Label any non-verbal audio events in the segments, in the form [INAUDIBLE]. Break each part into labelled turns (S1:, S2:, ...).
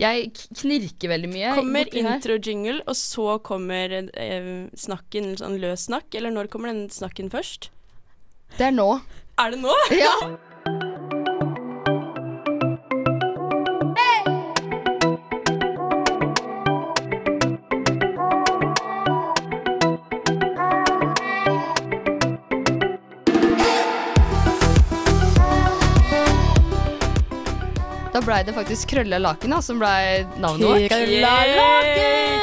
S1: Jeg k- knirker veldig mye.
S2: Kommer
S1: borti her.
S2: intro-jingle, og så kommer eh, snakken, sånn løs snakk? Eller når kommer den snakken først?
S1: Det er nå.
S2: Er det nå?
S1: [LAUGHS] Ja. Da blei det faktisk Krølla laken da, som blei navnet vårt.
S2: Yay! Krølla laken!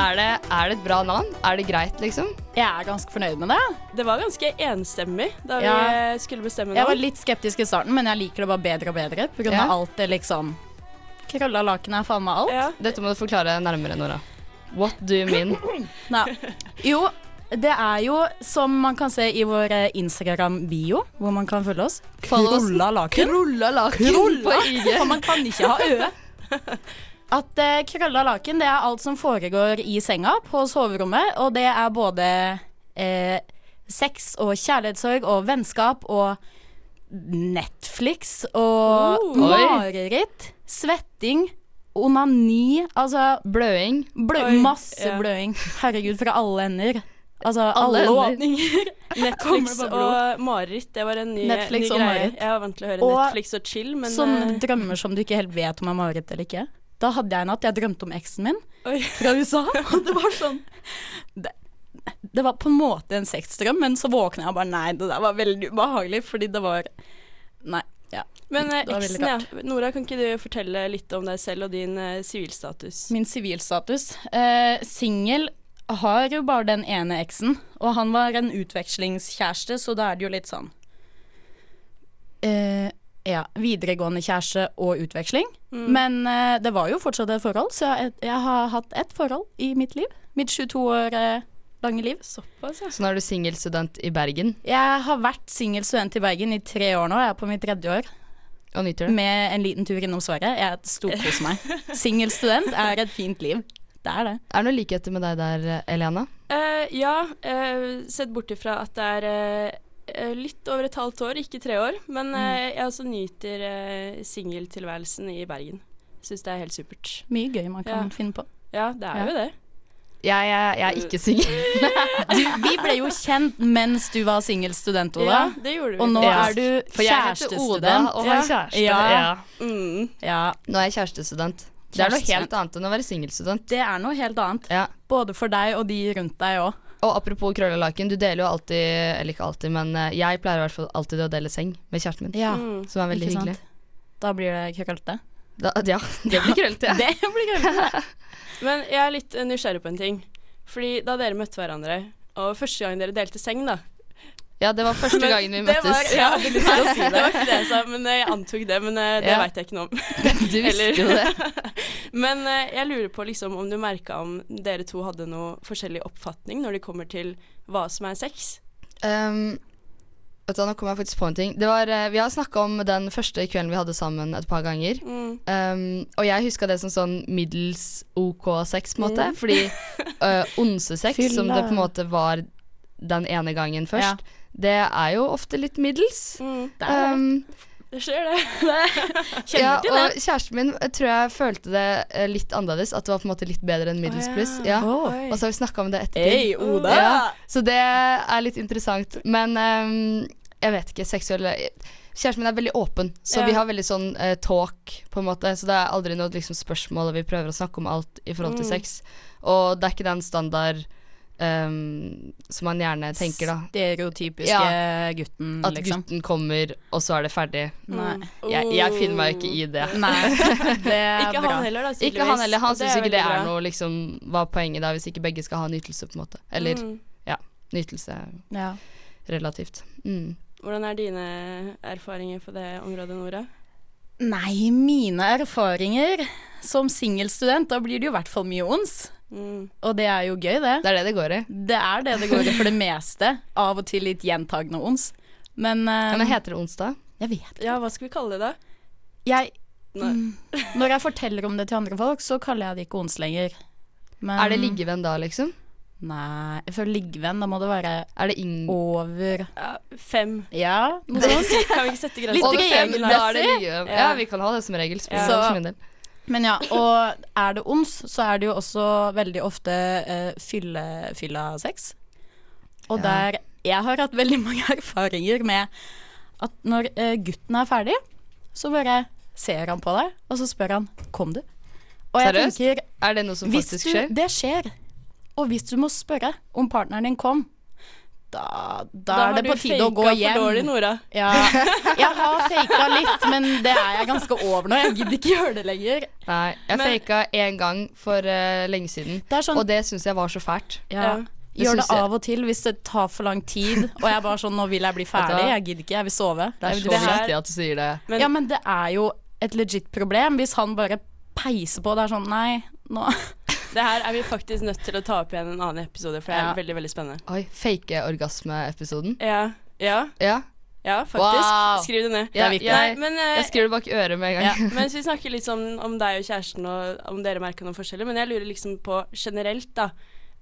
S1: Er det, er det et bra navn? Er det greit, liksom?
S3: Jeg er ganske fornøyd med det.
S2: Det var ganske enstemmig da vi eh,
S3: Ja.
S2: skulle bestemme
S3: Jeg var
S2: navn.
S3: litt skeptisk i starten, men jeg liker det bare bedre og bedre. På grunn
S1: Ja.
S3: av alt det liksom Krølla laken er faen meg alt.
S2: Ja.
S1: Dette må du forklare nærmere, Nora. What do you mean?
S3: Nei. Jo, det er jo som man kan se i vår eh, Instagram-bio, hvor man kan følge oss.
S1: Follow oss.
S3: Krølla laken.
S1: Krulla laken på IG.
S3: For man kan ikke ha øe. At eh, krølla laken, det er alt som foregår i senga på soverommet, og det er både eh, sex og kjærlighetssorg og vennskap og Netflix og
S2: Oh.
S3: mareritt, svetting, onani, altså
S1: Bløing.
S3: Blø
S2: Oi,
S3: masse
S2: ja.
S3: bløing. Herregud, fra alle ender. Altså,
S1: Alle
S3: alle,
S1: ender.
S3: åpninger.
S2: Netflix
S3: Kommer det bare blod?
S2: og mareritt, det var en ny,
S3: Netflix
S2: ny
S3: og
S2: greie.
S3: mareritt.
S2: Jeg var vant til å høre
S3: Og
S2: Netflix og chill, men
S3: Sånne
S2: eh,
S3: drømmer som du ikke helt vet om er mareritt eller ikke. Da hadde jeg en natt jeg drømte om eksen min
S2: [LAUGHS] Oi.
S3: fra USA. [LAUGHS] Og det var sånn det, det var på en måte en sexdrøm, men så våkna jeg og bare Nei, det der var veldig ubehagelig, fordi det var Nei. Ja.
S2: Men eh,
S3: Det var veldig
S2: eksen, ja. Nora, kan ikke du fortelle litt om deg selv og din eh, sivilstatus?
S3: Min sivilstatus. Eh, Singel har jo bare den ene eksen, og han var en utvekslingskjæreste, så da er det jo litt sånn eh, Ja, videregående kjæreste og utveksling. Men eh, det var jo fortsatt et forhold, så jeg, jeg har hatt ett forhold i mitt liv. Mitt 22 år eh, lange liv.
S2: Såpass, ja.
S1: Så nå er du singelstudent i Bergen
S3: Jeg har vært singel student i Bergen i tre år nå, jeg er på mitt tredje år.
S1: og nyter det.
S3: Med en liten tur innom Sverige. Jeg storkoser
S1: [LAUGHS]
S3: meg. Singel student er et fint liv. Det er det.
S1: Er det noen likheter med deg der, Elena?
S2: Eh, ja, eh, sett bort ifra at det er eh, eh, litt over et halvt år, ikke tre år. Men
S3: Mm.
S2: eh, jeg også nyter eh, singeltilværelsen i Bergen. Syns det er helt supert.
S3: Mye gøy man kan
S2: Ja.
S3: finne på.
S2: Ja, det er
S1: Ja.
S2: jo det.
S1: Jeg, jeg, jeg er ikke singel.
S3: Du, vi ble jo kjent mens du var singel student, Oda.
S2: Ja, det gjorde vi.
S3: Og nå
S1: Ja.
S3: er du
S1: For jeg heter Oda
S3: kjærestestudent.
S1: og har
S2: Ja.
S1: kjæreste.
S3: Ja.
S2: Mm.
S3: Ja,
S1: Nå er jeg kjærestestudent. Det er noe helt annet enn å være singelstudent.
S3: det er noe helt annet.
S1: Ja.
S3: Både for deg og de rundt deg òg.
S1: Og apropos krølla laken, du deler jo alltid, eller ikke alltid, men eh, jeg pleier i hvert fall alltid å dele seng med kjæresten min,
S3: Ja,
S2: Mm.
S1: som er veldig
S3: ikke sant?
S1: hyggelig.
S3: Da blir det krøllete.
S1: Da, ja, [LAUGHS] det blir krøllete. Ja.
S3: Det blir krøllete.
S2: Men jeg er litt eh, nysgjerrig på en ting. Fordi da dere møtte hverandre, og første gang dere delte seng, da
S1: ja, det var første gangen vi møttes.
S2: Det var,
S3: [LAUGHS]
S2: jeg hadde lyst til å si det. Det var ikke det jeg sa, men eh, jeg antok det. Men eh, det
S1: Ja.
S2: veit jeg ikke noe om.
S1: [LAUGHS] Du
S2: Eller-
S1: visste jo det.
S2: Men eh, jeg lurer på liksom, om du merka om dere to hadde noe forskjellig oppfatning når det kommer til hva som er sex.
S1: Ehm, vet du, hva, nå kom jeg faktisk på en ting. Det var, eh, vi har snakka om den første kvelden vi hadde sammen et par ganger.
S2: Mm,
S1: Ehm, og jeg huska det som sånn middels OK sex, på en
S2: Mm.
S1: måte.
S2: [LAUGHS]
S1: Fordi uh, onsesex,
S3: Fylla.
S1: som det på en måte var den ene gangen først, det er jo ofte litt middels.
S2: mm.
S1: Ehm,
S2: Det skjer, det.
S1: [LAUGHS] ja, og kjæresten min eh, tror jeg følte det eh, litt annerledes. At det var på en måte litt bedre enn middels
S2: ja.
S1: pluss. Ja.
S3: Oi.
S1: Og så har vi snakka om det etterpå.
S3: Hei, Oda.
S1: Ja, så det er litt interessant. Men ehm, jeg vet ikke, seksuell Kjæresten min er veldig åpen, så
S2: Ja.
S1: vi har veldig sånn eh, talk, på en måte. Så det er aldri noe liksom, spørsmål, og vi prøver å snakke om alt i forhold
S2: Mm.
S1: til sex. Og det er ikke den standard ehm, som man gjerne tenker, da.
S3: Stereotypiske gutten,
S1: At
S3: liksom.
S1: gutten kommer, og så er det ferdig.
S2: Mm.
S3: Nei.
S1: Jeg,
S2: Oh,
S1: jeg finner meg ikke i det.
S3: Nei,
S1: [LAUGHS]
S3: det er
S2: Ikke
S3: bra.
S2: han heller, da, tydeligvis.
S1: Mm. Ikke han heller. Han
S2: Og
S1: syns
S2: er
S1: ikke det
S2: veldig
S1: er
S2: bra.
S1: noe liksom, Hva er poenget da, hvis ikke begge skal ha en ytelse, på en måte. Eller
S2: Mm.
S1: ja, nytelse er jo
S3: Ja.
S1: relativt. Mm.
S2: Hvordan er dine erfaringer på det området, Nora?
S3: Nei, mine erfaringer som singelstudent, da blir det jo i hvert fall mye ons.
S2: Mm.
S3: Og det er jo gøy, det.
S1: Det er det det går i.
S3: Det er det det går i for det meste. Av og til litt gjentagende ons. Men, eh,
S1: Ja, men heter det onsdag?
S3: jeg vet
S2: Ja, hva skal vi kalle det, da?
S3: jeg, mm,
S2: Nei.
S3: Når jeg forteller om det til andre folk, så kaller jeg det ikke ons lenger. Men,
S1: er det liggevenn da, liksom?
S3: Nei, for liggevenn, da må det være
S1: Er det ing...
S3: over
S2: Ja, fem.
S3: Ja, noe
S2: [LAUGHS] Kan
S3: sånt.
S2: vi ikke sette grenser
S3: Litt
S2: på fem?
S3: regelmessig.
S2: da?
S1: da er det liggevenn. Ja, vi kan ha det som regel. spesielt
S3: Så-
S1: for min del.
S3: Men ja, og er det ons, så er det jo også veldig ofte uh, fylle, fylla sex. Og
S1: Ja.
S3: der Jeg har hatt veldig mange [LAUGHS] erfaringer med at når eh, gutten er ferdig, så bare ser han på deg, og så spør han 'kom du'? Og jeg
S1: Seriøst?
S3: tenker
S1: Er det noe som
S3: hvis
S1: faktisk
S3: du,
S1: skjer?
S3: Det skjer. Og hvis du må spørre om partneren din kom, da, da, er det på tide å
S2: Da
S3: gå
S2: har du faka for dårlig,
S3: hjem.
S2: Nora.
S3: Ja, jeg har faka litt, men det er jeg ganske over nå. Jeg gidder ikke gjøre det lenger.
S1: Nei. Jeg
S2: Men-
S1: faka én gang for eh, lenge siden,
S3: Det er sånn,
S1: og det syns jeg var så fælt.
S3: ja,
S2: Ja.
S1: Det
S3: Gjør det
S1: synes jeg-
S3: av og til hvis det tar for lang tid, og jeg er bare sånn Nå vil jeg bli ferdig, jeg gidder ikke, jeg vil sove.
S1: Det er
S3: Jeg vil
S1: så
S3: dusje.
S2: her-
S1: viktig at du sier det.
S2: Men
S3: Ja, men det er jo et legit problem hvis han bare peiser på. Det er sånn Nei, nå
S2: det her er vi faktisk nødt til å ta opp igjen en annen episode, for det er
S3: Ja.
S2: veldig, veldig spennende.
S1: Oi, fake orgasme-episoden.
S2: Ja, ja,
S1: Ja.
S2: ja faktisk.
S1: Wow.
S2: Skriv det ned.
S1: ja
S3: viktig.
S2: Nei,
S1: jeg,
S2: men
S1: jeg
S2: eh,
S1: skriver det bak øret med en gang. [LAUGHS]
S3: Ja.
S2: Mens vi snakker litt om, om deg og kjæresten og om dere merker noen forskjeller, men jeg lurer liksom på generelt, da.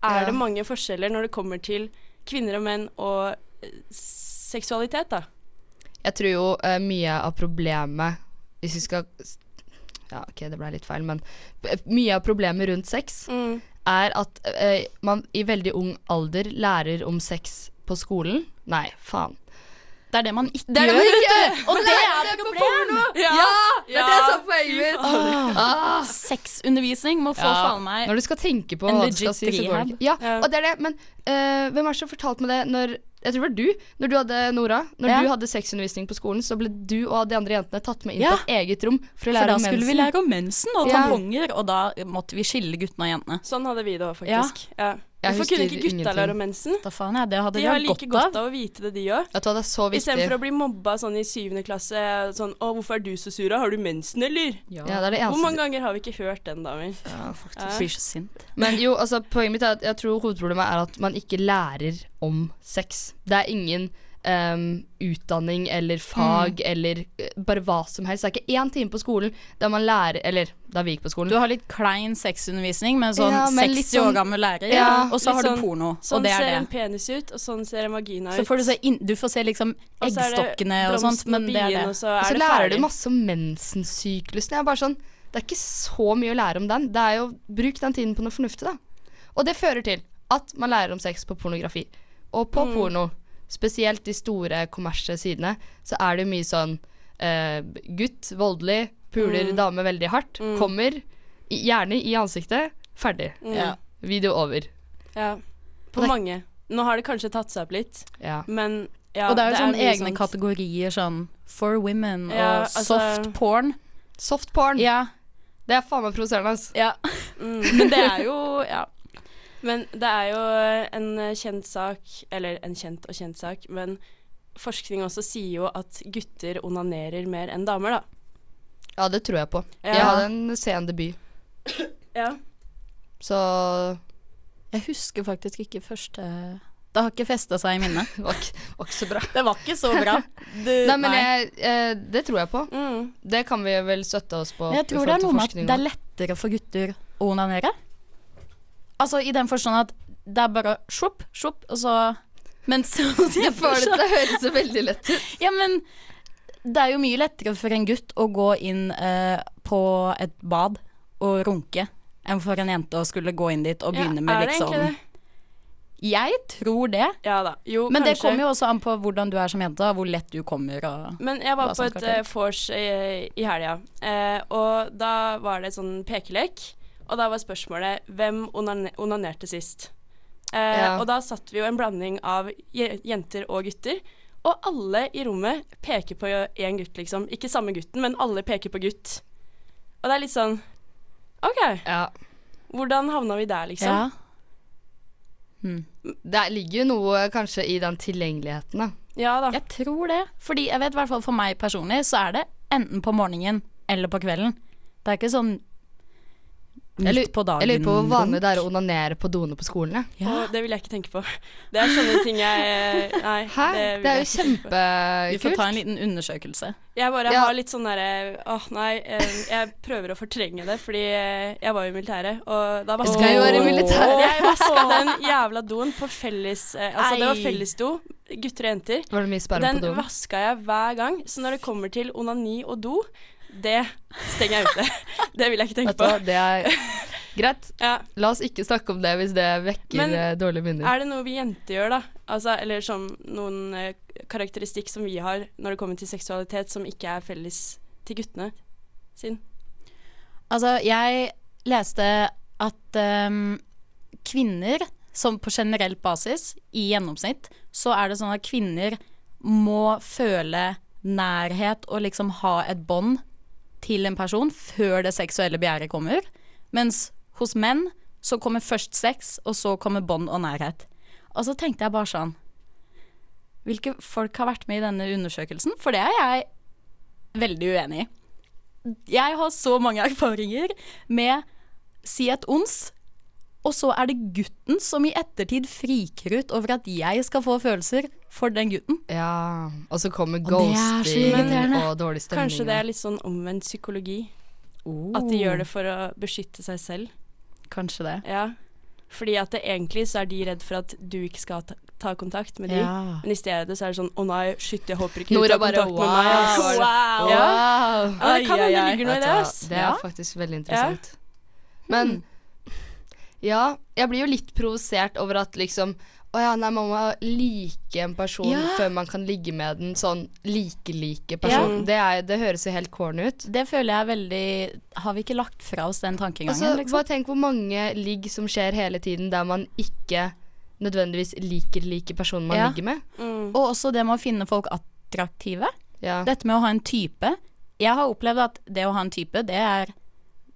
S2: Er
S1: Ja.
S2: det mange forskjeller når det kommer til kvinner og menn og eh, seksualitet, da?
S1: Jeg tror jo eh, mye av problemet Hvis vi skal Ja, OK, det ble litt feil, men eh, mye av problemet rundt sex er at eh, man i veldig ung alder lærer om sex på skolen. Nei, faen.
S3: Det er det man ikke
S1: Det er det
S3: gjør.
S1: man ikke gjør!
S3: Og
S1: Man
S3: det
S1: lærer
S3: er
S1: det på
S3: problem!
S2: Ja!
S1: Det er det som er poenget mitt! Ah.
S3: Sexundervisning må få
S1: Ja,
S3: faen meg
S1: Når du skal tenke på
S3: en
S1: hva du skal
S3: legit
S1: si, så går det
S3: rehab.
S1: ikke. Ja,
S2: Ja.
S1: og det er det, men eh, hvem er det som fortalte meg det når jeg tror det var du, når du hadde Nora, når
S3: Ja.
S1: du hadde sexundervisning på skolen, så ble du og de andre jentene tatt med inn
S3: Ja.
S1: på et eget rom for å
S3: For
S1: lære
S3: da
S1: om
S3: skulle vi
S1: mensen.
S3: lære om mensen og
S1: Ja.
S3: tamponger, og da måtte vi skille guttene og jentene.
S2: Sånn hadde vi det òg, faktisk. Ja.
S1: Jeg
S2: Hvorfor kunne ikke
S1: husker
S2: gutta lære om mensen?
S3: Da faen jeg, det hadde
S2: De
S3: vi
S2: har
S3: hatt
S2: like godt av å vite det, de òg.
S1: Vet du hva, det er så viktig.
S2: Istedenfor å bli mobba sånn i syvende klasse. Sånn 'Å, hvorfor er du så sur? da? Har du mensen, eller?'
S3: Ja.
S1: Ja, det er det
S2: Hvor
S1: eneste.
S2: mange ganger har vi ikke hørt den, damer?
S1: Ja.
S2: Ja.
S3: Blir så sint.
S1: Men jo, altså, poenget mitt er at jeg tror hovedproblemet er at man ikke lærer om sex. Det er ingen ehm, utdanning eller fag eller eh, bare hva som helst. Det er ikke én time på skolen der man lærer Eller da vi gikk på skolen.
S3: Du har litt klein sexundervisning med sånn
S1: Ja, men litt
S3: 60 år
S1: sånn-
S3: gammel lærer,
S1: Ja,
S3: og så
S2: litt
S3: har du
S2: sånn-
S3: porno,
S2: Sånn
S3: og det
S2: ser
S3: er
S2: en
S3: det.
S2: penis ut, og sånn ser en vagina ut.
S3: Så får du se, inn, du får se liksom
S2: Og så er det
S3: eggstokkene og sånt,
S2: blomsten
S3: men det er
S2: bien,
S3: det.
S2: Og så er
S1: Og så
S2: det
S1: lærer
S2: ferdig.
S1: du masse om mensensyklusen. Jeg er bare sånn, Det er ikke så mye å lære om den. Det er jo Bruk den tiden på noe fornuftig, da. Og det fører til at man lærer om sex på pornografi. Og på
S2: Mm.
S1: porno, spesielt de store kommersielle sidene, så er det jo mye sånn eh, gutt, voldelig,
S2: Mm.
S1: puler dame veldig hardt, kommer, i- gjerne i ansiktet, ferdig.
S2: Mm.
S3: Ja.
S1: Video over.
S2: Ja. På
S1: Og det-
S2: mange. Nå har det kanskje tatt seg opp litt,
S1: Ja.
S2: men ja,
S3: og det er jo sånn
S2: mye
S3: egne
S2: sånt.
S3: kategorier sånn for women
S2: Ja,
S3: og
S2: altså-
S3: soft porn.
S1: Soft porn.
S3: Ja,
S1: Det er faen meg provoserende, ass.
S3: ja.
S2: Mm.
S3: Men det er jo ja.
S2: Men det er jo en eh, kjent sak, eller en kjent og kjent sak, men forskning også sier jo at gutter onanerer mer enn damer, da.
S1: Ja, det tror jeg på.
S2: Ja.
S1: Jeg hadde en sen debut,
S2: Ja.
S1: så [LAUGHS]
S3: Jeg husker faktisk ikke første Det har ikke festa seg i minnet.
S1: Det var ikke, var ikke så bra.
S3: Det var ikke så [LAUGHS] bra.
S1: Nei, men jeg, eh, det tror jeg på.
S2: Mm.
S1: Det kan vi vel støtte oss på.
S3: jeg tror det er noe med at det er lettere for gutter å onanere. Altså i den forstand at det er bare sjopp, sjopp, og så Men så [LAUGHS]
S1: [LAUGHS] Jeg føler at det høres så veldig lett ut.
S3: Ja, men det er jo mye lettere for en gutt å gå inn eh, på et bad og runke enn for en jente å skulle gå inn dit og begynne
S2: ja,
S3: med
S2: er det
S3: liksom
S2: egentlig det?
S3: Jeg tror det.
S2: Ja da. Jo,
S3: Men det
S2: kanskje.
S3: kommer jo også an på hvordan du er som jente, og hvor lett du kommer og
S2: Men jeg var
S3: hva
S2: på
S3: som
S2: et
S3: skal til.
S2: eh, vors i, i helga, eh, og da var det sånn pekelek. Og da var spørsmålet hvem onane onanerte sist? Eh,
S1: Ja.
S2: Og da satt vi jo en blanding av je jenter og gutter. Og alle i rommet peker på én gutt, liksom. Ikke samme gutten, men alle peker på gutt. Og det er litt sånn OK,
S1: Ja,
S2: hvordan havna vi der, liksom?
S3: Ja. Hmm.
S1: Det ligger jo noe kanskje i den tilgjengeligheten, da.
S2: Ja, da.
S3: Jeg tror det. Fordi jeg vet i hvert fall for meg personlig så er det enten på morgenen eller på kvelden. Det er ikke sånn
S1: Jeg
S3: midt
S1: lurer-
S3: på dagen.
S1: Jeg lurer på hvor vanlig det er å onanere på doene på skolen. jeg.
S3: Ja.
S2: Og det vil jeg ikke tenke på. Det er sånne ting jeg eh, Nei.
S1: [LAUGHS] Hæ?
S2: vil
S1: Det er
S2: jeg
S1: jo
S2: ikke tenke på.
S3: Vi får
S1: kjempekult.
S3: ta en liten undersøkelse.
S2: Jeg bare
S1: Ja.
S2: har litt sånn derre Åh, nei. eh, Jeg prøver å fortrenge det, fordi eh, jeg var jo i militæret, og da vaska
S1: skal jo være i militæret.
S2: Åh, Jeg vaska den jævla doen på felles eh, Altså, det var
S3: Ei.
S2: fellesdo, gutter og jenter.
S1: Var det mye sperm
S2: Den
S1: på doen?
S2: vaska jeg hver gang, så når det kommer til onani og do det stenger jeg ute.
S1: [LAUGHS]
S2: det vil jeg ikke tenke
S1: Vet du
S2: på.
S1: hva, det er
S2: [LAUGHS]
S1: greit.
S2: Ja.
S1: La oss ikke snakke om det hvis det vekker
S2: Men
S1: eh, dårlige minner.
S2: Er det noe vi jenter gjør, da? Altså, eller som noen eh, karakteristikk som vi har når det kommer til seksualitet, som ikke er felles til guttene sin?
S3: Altså, jeg leste at ehm, kvinner, som på generell basis, i gjennomsnitt, så er det sånn at kvinner må føle nærhet og liksom ha et bånd til en person før det seksuelle begjæret kommer. Mens hos menn så kommer først sex, og så kommer bånd og nærhet. Og så tenkte jeg bare sånn Hvilke folk har vært med i denne undersøkelsen? For det er jeg veldig uenig i jeg har så mange [LAUGHS] erfaringer med si et ons, og så er det gutten som i ettertid friker ut over at jeg skal få følelser for den gutten.
S1: Ja, og så kommer
S3: det er så
S1: ghosting
S3: irriterende.
S1: og dårlig stemning.
S2: Kanskje det er litt sånn omvendt psykologi.
S1: Oh.
S2: At de gjør det for å beskytte seg selv.
S3: Kanskje det.
S2: Ja. Fordi at det, egentlig så er de redd for at du ikke skal ta, ta kontakt med de.
S3: Ja.
S2: Men i stedet så er det sånn å nei, shit, jeg håper ikke
S1: Nora
S2: du tar
S1: bare,
S2: kontakt
S1: wow.
S2: med meg. ass».
S1: Wow.
S2: Ja.
S1: Wow.
S2: Ja, det kan
S3: Ai,
S2: hende
S3: ai,
S2: det
S3: ai.
S2: ligger noe i
S1: Vet
S2: det,
S1: du hva,
S2: ass.
S1: Det er
S3: Ja.
S1: faktisk veldig interessant. Men ja, jeg blir jo litt provosert over at liksom Å ja, nei, man må like en person
S3: Ja.
S1: før man kan ligge med den. Sånn like-like person.
S2: Ja.
S1: Det, er, det høres jo helt corny ut.
S3: Det føler jeg er veldig Har vi ikke lagt fra oss den tankegangen,
S1: Altså,
S3: liksom?
S1: Bare tenk hvor mange ligg som skjer hele tiden der man ikke nødvendigvis liker like personen man
S3: Ja.
S1: ligger med.
S2: Mm.
S3: Og også det med å finne folk attraktive.
S1: Ja.
S3: Dette med å ha en type. Jeg har opplevd at det å ha en type, det er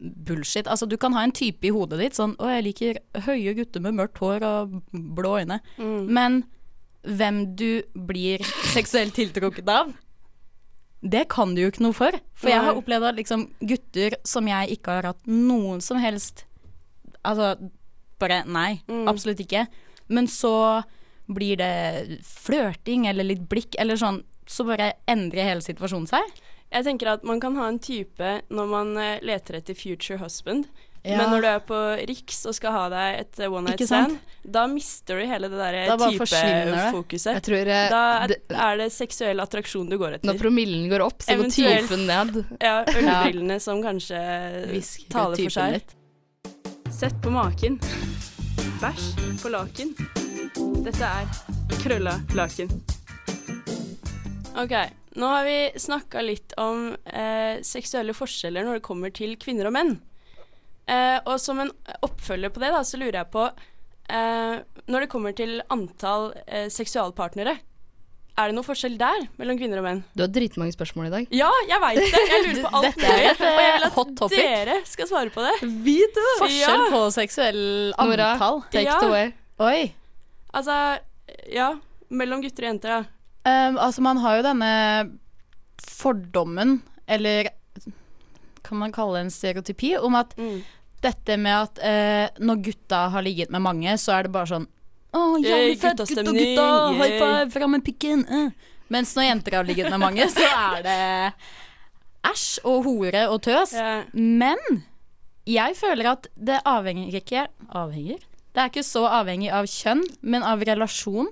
S3: bullshit. Altså, du kan ha en type i hodet ditt, sånn 'Å, jeg liker høye gutter med mørkt hår og blå øyne'. Men hvem du blir seksuelt tiltrukket av, det kan du jo ikke noe for. For jeg har
S2: Nei.
S3: opplevd at liksom gutter som jeg ikke har hatt noen som helst Altså bare nei, absolutt ikke. Men så blir det flørting eller litt blikk eller sånn, så bare endrer hele situasjonen seg.
S2: Jeg tenker at man kan ha en type når man eh, leter etter future husband.
S3: Ja.
S2: Men når du er på Riks og skal ha deg et eh, one night
S3: Ikke
S2: stand,
S3: sant?
S2: da mister du hele det
S3: Da
S2: der
S3: bare forsvinner det.
S1: Jeg
S2: typefokuset.
S1: tror eh,
S2: Da er,
S1: det,
S2: er det seksuell attraksjon du går
S1: når
S2: etter.
S1: promillen går opp, så går
S2: Eventuelt-
S1: typen ned.
S2: Ja,
S3: [LAUGHS]
S2: Ølbrillene som kanskje
S3: Visker ut
S2: taler for
S3: typen
S2: seg.
S3: litt.
S2: Sett på maken. Bæsj på laken. Dette er krølla laken. OK. Nå har vi snakka litt om eh, seksuelle forskjeller når det kommer til kvinner og menn. Eh, og som en oppfølger på det, da, så lurer jeg på eh, Når det kommer til antall eh, seksualpartnere, er det noe forskjell der mellom kvinner og menn?
S1: Du har dritmange spørsmål i dag.
S2: Ja, jeg veit det! Jeg lurer på [LAUGHS] alt
S3: Dette er
S2: mulig.
S3: et
S2: Og jeg vil
S3: eh, hot
S2: at
S3: topic.
S2: dere skal svare på det.
S3: Forskjell på seksuell
S1: Nora,
S3: antall.
S1: take
S2: Ja.
S1: it away.
S3: Oi.
S2: Altså, ja. Mellom gutter og jenter, ja.
S3: Ehm, altså, man har jo denne fordommen, eller kan man kalle det en stereotypi, om at dette med at eh, når gutta har ligget med mange, så er det bare sånn Å, jævlig
S2: Yay,
S3: fett, gutta,
S2: guttastemning,
S3: gutta, high
S2: yay.»
S3: five, fram med pikken. eh. Mens når jenter har ligget med mange, så er det æsj og hore og tøs.
S2: Ja.
S3: Men jeg føler at det avhenger ikke Avhenger? Det er ikke så avhengig av kjønn, men av relasjon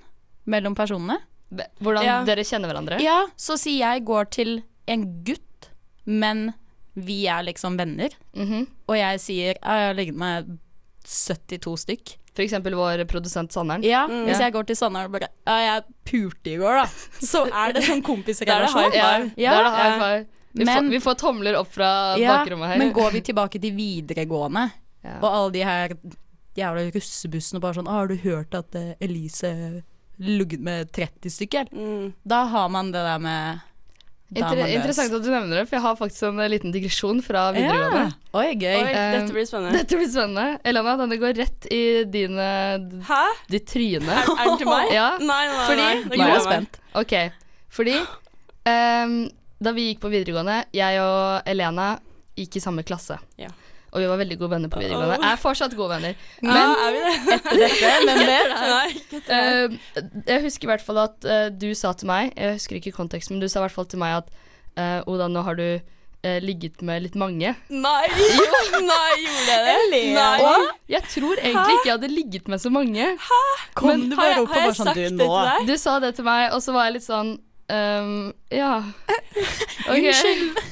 S3: mellom personene.
S1: Be- Hvordan
S2: Ja.
S1: dere kjenner hverandre.
S3: Ja, så si jeg går til en gutt, men vi er liksom venner,
S1: Mhm.
S3: og jeg sier «Ja, jeg har ligget med 72 stykk.
S1: For eksempel vår produsent Sanneren.
S3: Ja, Hvis
S1: Ja.
S3: jeg går til Sanna og bare Ja, jeg pulte i går, da. Så er det sånn
S2: Da er
S3: kompisrelasjon.
S2: det
S1: Ja,
S2: five.
S1: der er det high
S2: Ja.
S1: five. Vi,
S3: Men-
S1: får, vi får tomler opp fra bakrommet her.
S3: men går vi tilbake til videregående
S1: Ja.
S3: og alle de her jævla russebussene og bare sånn «Ah, 'Har du hørt at eh, Elise lugget med 30 stykker?'
S2: Mm.
S3: Da har man det der med da er
S1: Inter
S3: man løs.
S1: interessant at du nevner det, for jeg har faktisk en eh, liten digresjon fra videregående.
S3: Ja. Oi, gøy.
S2: Oi,
S1: eh,
S2: dette blir spennende.
S1: [LAUGHS] Dette blir spennende. Elana, denne går rett i dine,
S2: Hæ?
S1: ditt tryne.
S2: Er, er den til meg?
S1: [LAUGHS] Ja,
S2: Nei, nei, nei.
S1: Fordi-
S2: nei.
S1: Nå
S2: Det
S3: Nå er
S2: gruer
S3: jeg
S2: jeg meg.
S3: spent.
S1: ok. Fordi ehm, da vi gikk på videregående, jeg og Elena gikk i samme klasse.
S2: Ja.
S1: Og vi var veldig gode venner på videregående.
S2: Uh-oh.
S1: Er fortsatt gode venner.
S2: Men ja, er vi det? [LAUGHS]
S3: Hvem vet?
S2: Nei, ikke etter det.
S1: Eh, jeg husker i hvert fall at eh, du sa til meg Jeg husker ikke konteksten, men du sa i hvert fall til meg at eh, Oda, nå har du eh, ligget med litt mange.
S2: Nei, jo, nei, gjorde jeg det? Nei.
S1: Og jeg tror egentlig ikke jeg hadde ligget med så mange.
S3: Kom
S2: Har jeg, har jeg sagt det til deg?
S1: Du sa
S2: [LAUGHS]
S1: det til meg, og så var jeg litt sånn [LAUGHS] ehm, Ja. Ok.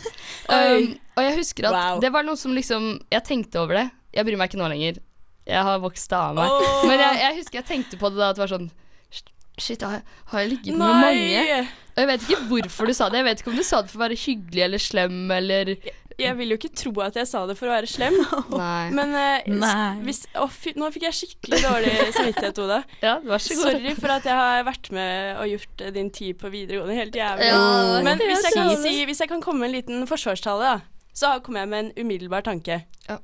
S1: Um, og jeg husker at
S2: Wow.
S1: det var noe som liksom Jeg tenkte over det. Jeg bryr meg ikke nå lenger. Jeg har vokst det av meg.
S2: Åh.
S1: Men jeg, jeg husker jeg tenkte på det da, at det var sånn "Sh- Shit, har jeg, har jeg ligget med mange?
S2: Nei!
S1: Og jeg vet ikke hvorfor du sa det. Jeg vet ikke om du sa det for å være hyggelig eller slem eller
S2: Jeg vil jo ikke tro at jeg sa det for å være slem,
S1: Nei.
S2: men eh, s-
S3: Nei.
S2: hvis, å, fy, nå fikk jeg skikkelig dårlig samvittighet, Oda.
S1: Ja, vær så god.
S2: Sorry for at jeg har vært med og gjort eh, din tid på videregående helt jævlig.
S1: Ja,
S2: Men
S1: det er
S2: hvis jeg, kan
S1: sant.
S2: si, hvis jeg kan komme med en liten forsvarstale, da, så kommer jeg med en umiddelbar tanke.
S1: Ja.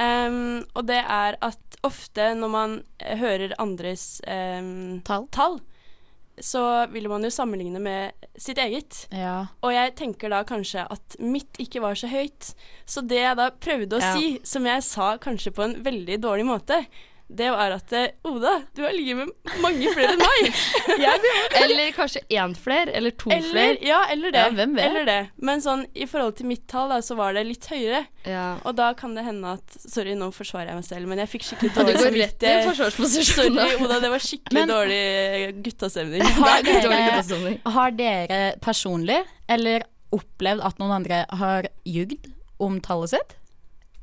S2: Em, og det er at ofte når man eh, hører andres em,
S3: Tall.
S2: tall, så vil man jo sammenligne med sitt eget.
S3: Ja.
S2: Og jeg tenker da kanskje at mitt ikke var så høyt. Så det jeg da prøvde å
S3: Ja.
S2: si, som jeg sa kanskje på en veldig dårlig måte, det var at eh, Oda, du har ligget med mange flere enn meg.
S1: Eller kanskje én flere, eller to
S2: Eller,
S1: flere.
S2: ja, eller det.
S3: Ja, hvem vet?
S2: Eller det. Men sånn, i forhold til mitt tall, da, så var det litt høyere.
S1: Ja.
S2: Og da kan det hende at Sorry, nå forsvarer jeg meg selv, men jeg fikk
S1: [LAUGHS]
S2: skikkelig
S1: Og du
S2: dårlig
S1: går rett i
S2: samvittighet.
S1: forsvarsposisjon.
S2: eh, [LAUGHS] Sorry,
S1: da. [LAUGHS]
S2: Oda, det var skikkelig
S3: Men-
S2: dårlig eh, guttastemning.
S3: Har
S1: Det er dårlig
S3: dere,
S1: guttestemning.
S3: har dere personlig eller opplevd at noen andre har ljugd om tallet sitt?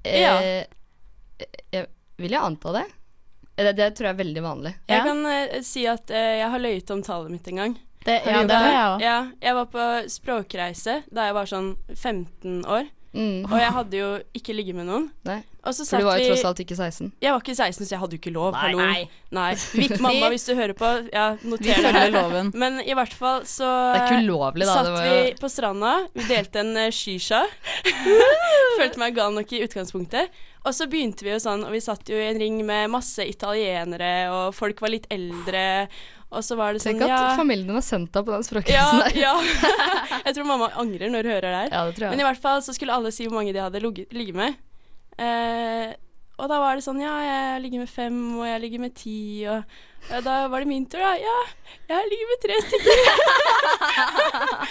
S2: Ja.
S1: Eh, jeg, vil jeg anta det? Eh, Det, det tror jeg er veldig vanlig.
S3: Ja.
S2: Jeg kan eh, si at eh, jeg har løyet om tallet mitt en gang.
S3: Det,
S1: Har
S3: ja,
S1: du
S3: det
S1: gjort
S3: har
S1: det?
S3: jeg òg.
S2: Ja, jeg var på språkreise da jeg var sånn 15 år,
S1: Mm.
S2: og jeg hadde jo ikke ligget med noen.
S1: Nei.
S2: Og så
S1: For
S2: satt
S1: du var
S2: vi
S1: jo tross alt ikke 16.
S2: Jeg var ikke 16, så jeg hadde jo ikke lov.
S3: Nei,
S2: Hallo.
S3: nei.
S2: Nei.
S1: [LAUGHS]
S2: Mamma, hvis du hører på, ja,
S3: Vi
S2: noter det
S3: følger
S2: her.
S3: loven.
S2: Men i hvert fall så
S1: Det er ikke ulovlig, da. Det
S2: satt
S1: var jo
S2: vi på stranda. Vi delte en eh, shisha. [LAUGHS] Følte meg gal nok i utgangspunktet. Og så begynte vi jo sånn, og vi satt jo i en ring med masse italienere, og folk var litt eldre. Og så var det sånn,
S1: Tenk at
S2: ja
S1: familien har sendt deg på den
S2: ja,
S1: [LAUGHS] språkreisen der.
S2: ja. [LAUGHS] Jeg tror mamma angrer når hun hører det her.
S1: Ja, det tror
S2: Men i
S1: jeg.
S2: hvert fall så skulle alle si hvor mange de hadde ligget ligget med. Eh, og da var det sånn Ja, jeg ligger med fem, og jeg ligger med ti, og ja, da var det min tur, da. Ja, jeg ligger med tre stykker. [LAUGHS]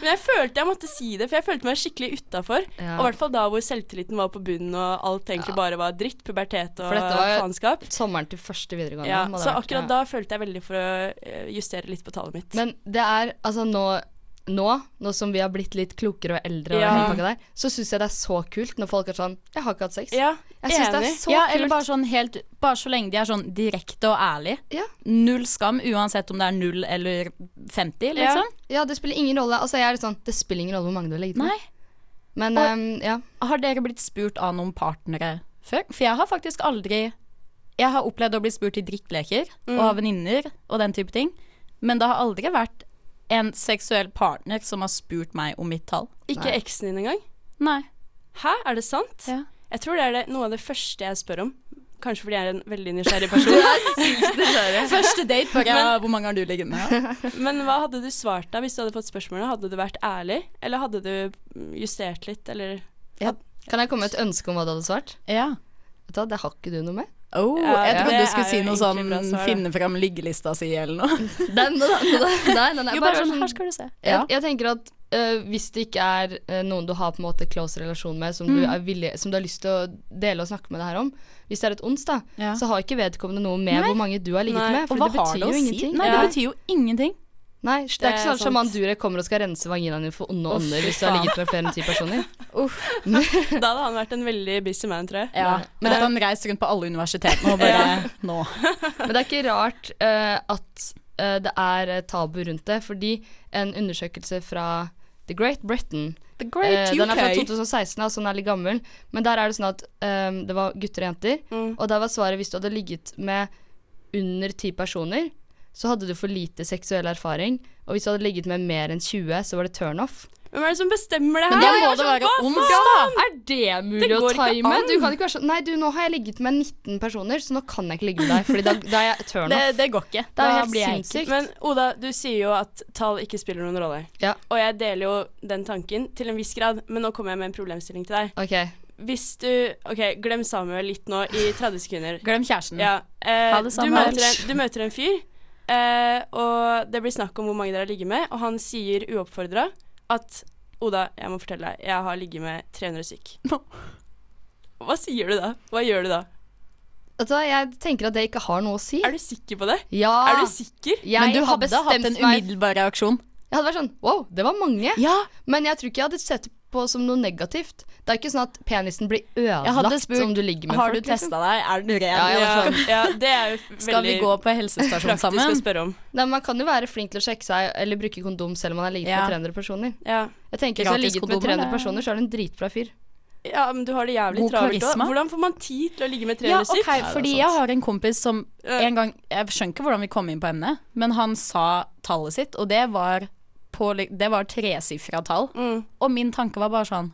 S2: Men jeg følte jeg måtte si det, for jeg følte meg skikkelig utafor.
S1: Ja.
S2: Og i hvert fall da hvor selvtilliten var på bunnen, og alt egentlig bare var dritt, pubertet og
S1: For dette var jo-
S2: faenskap.
S1: Sommeren til første videregående.
S2: Ja,
S1: må det
S2: så
S1: ha vært.
S2: akkurat
S1: Ja.
S2: da følte jeg veldig for å eh, justere litt på tallet mitt.
S1: Men det er altså nå nå, nå som vi har blitt litt klokere og eldre, og
S2: Ja.
S1: hele pakka der, så syns jeg det er så kult når folk er sånn 'Jeg har ikke hatt sex'.
S2: ja,
S1: Jeg syns det er
S2: enig.
S1: så
S3: Ja, eller
S1: kult.
S3: bare sånn helt Bare så lenge de er sånn direkte og ærlige.
S1: Ja.
S3: Null skam, uansett om det er null eller 50, liksom.
S1: Ja, det spiller ingen rolle. Altså, jeg er litt sånn Det spiller ingen rolle hvor mange du har legget med.
S3: Nei.
S1: Men
S3: Og-
S1: ehm, ja.
S3: Har dere blitt spurt av noen partnere før? For jeg har faktisk aldri Jeg har opplevd å bli spurt i drittleker
S1: Mm.
S3: og av venninner og den type ting, men det har aldri vært en seksuell partner som har spurt meg om mitt tall.
S2: Ikke
S1: Nei.
S2: eksen din engang?
S3: Nei.
S2: Hæ, er det sant?
S3: Ja.
S2: Jeg tror det er det, noe av det første jeg spør om. Kanskje fordi jeg er en veldig nysgjerrig
S3: [LAUGHS]
S2: person.
S3: [LAUGHS] Første date bare ja, Hvor mange har du ligget med?
S2: Men hva hadde du svart da hvis du hadde fått spørsmålet? Hadde du vært ærlig, eller hadde du mm, justert litt, eller [LAUGHS]
S1: Kan jeg komme med et ønske om hva du hadde svart?
S3: [LAUGHS] Ja.
S1: Vet du hva, Det har ikke du noe med.
S3: Oh,
S2: Ja,
S3: jeg
S1: ja.
S3: trodde
S2: Det
S3: du
S2: er
S3: skulle si
S2: jo
S3: noe
S2: egentlig
S3: sånn
S2: bra svar, da.
S3: finne fram liggelista si eller noe.
S1: Den, den, den, Nei, den er bare
S3: Jo, bare sånn,
S1: sånn-
S3: her skal du se.
S1: jeg, jeg tenker at øh, hvis det ikke er øh, noen du har på en måte close relasjon med, som, du
S3: Mm.
S1: er villig, som du har lyst til å dele og snakke med det her om Hvis det er et ons, da,
S3: Ja.
S1: så har ikke vedkommende noe med hvor mange du har ligget
S2: Nei,
S1: med.
S3: Og
S1: For
S3: hva
S1: det
S3: har
S1: betyr
S3: det
S1: jo
S3: å si?
S1: ingenting.
S3: Nei, det
S2: Ja.
S3: betyr jo ingenting.
S1: Nei, det er ikke
S2: Det er
S1: sånn at Sjaman
S2: sant.
S1: Durek kommer og skal rense vaginaen din for onde
S3: Å,
S1: ånder
S3: fy
S1: hvis du har
S3: faen.
S1: ligget med flere enn ti personer.
S2: Da hadde han vært en veldig busy man, tror jeg.
S3: Ja. Men at han reiste rundt på alle universitetene og bare Nå.
S1: Men det er ikke rart eh, at eh, det er eh, tabu rundt det, fordi en undersøkelse fra The Great Britain
S3: The
S1: Eh, den er fra 2016, altså den er litt gammel. Men der er det sånn at ehm, det var gutter og jenter.
S2: Mm.
S1: Og der var svaret hvis du hadde ligget med under ti personer, så hadde du for lite seksuell erfaring. Og hvis du hadde ligget med mer enn 20, så var det turnoff.
S2: Hvem er det som bestemmer det
S3: Men
S2: her?
S3: da
S2: Jeg
S3: må
S2: er
S3: det
S2: sånn,
S3: være
S2: hva
S3: ons,
S2: faen?
S3: da!
S1: Er det mulig
S2: Det
S1: å
S2: går ikke
S1: time?
S2: an.
S1: Du kan ikke være sånn Nei, du, nå har jeg ligget med 19 personer, så nå kan jeg ikke ligge med deg. Fordi da, da er jeg
S3: Det,
S1: turnoff.
S3: det går ikke.
S1: Det er
S3: Da
S1: jo helt
S3: blir jeg ikke-
S1: sinnssykt.
S2: Men Oda, du sier jo at tall ikke spiller noen rolle.
S1: Ja.
S2: Og jeg deler jo den tanken til en viss grad, men nå kommer jeg med en problemstilling til deg.
S1: OK.
S2: Hvis du OK, glem Samuel litt nå i 30 sekunder.
S3: Glem kjæresten.
S1: Mm.
S2: Ja. eh,
S3: Ha det
S2: du,
S3: samme.
S2: møter en, du møter en fyr, eh, og det blir snakk om hvor mange dere har ligget med, og han sier uoppfordra at Oda, jeg må fortelle deg, jeg har ligget med 300 stykk.
S3: Nå.
S2: Hva sier du da? Hva gjør du da?
S1: Vet du hva, jeg tenker at det ikke har noe å si.
S2: Er du sikker på det?
S1: Ja.
S3: Ah.
S2: Er du sikker?
S1: jeg
S3: Men du
S1: har
S3: hadde hatt
S1: bestemt
S3: en
S1: meg
S3: umiddelbar reaksjon.
S1: Jeg hadde vært sånn Wow, det var mange.
S3: Ja,
S1: Men jeg tror ikke jeg hadde sett på som noe negativt. Det er ikke sånn at penisen blir
S3: Jeg hadde
S1: ødelagt
S3: spurt
S1: om du ligger med
S3: Har
S1: folk. liksom.
S3: du testa deg? Er den ren?
S1: Ja, jeg var
S2: Ja,
S1: sånn.
S2: ja, det er jo veldig
S3: [LAUGHS] Skal vi gå på helsestasjon
S2: praktisk
S3: sammen?
S2: å spørre om.
S1: Nei, men man kan jo være flink til å sjekke seg eller bruke kondom selv om man har ligget
S3: Ja.
S1: med 300 personer.
S2: Ja.
S1: Jeg tenker Hvis du har
S3: Gratis
S1: ligget med
S3: kondomer,
S1: 300
S3: det-
S1: personer, så er du en dritbra fyr.
S2: ja, men du har det jævlig
S3: God
S2: travelt òg.
S3: karisma.
S2: Hvordan får man tid til å ligge med 300
S3: Ja,
S2: stykker?
S3: ok, fordi jeg har en kompis som en gang Jeg skjønner ikke hvordan vi kom inn på emnet, men han sa tallet sitt, og det var, på, li- det var tresifra tall.
S2: Mm.
S3: Og min tanke var bare sånn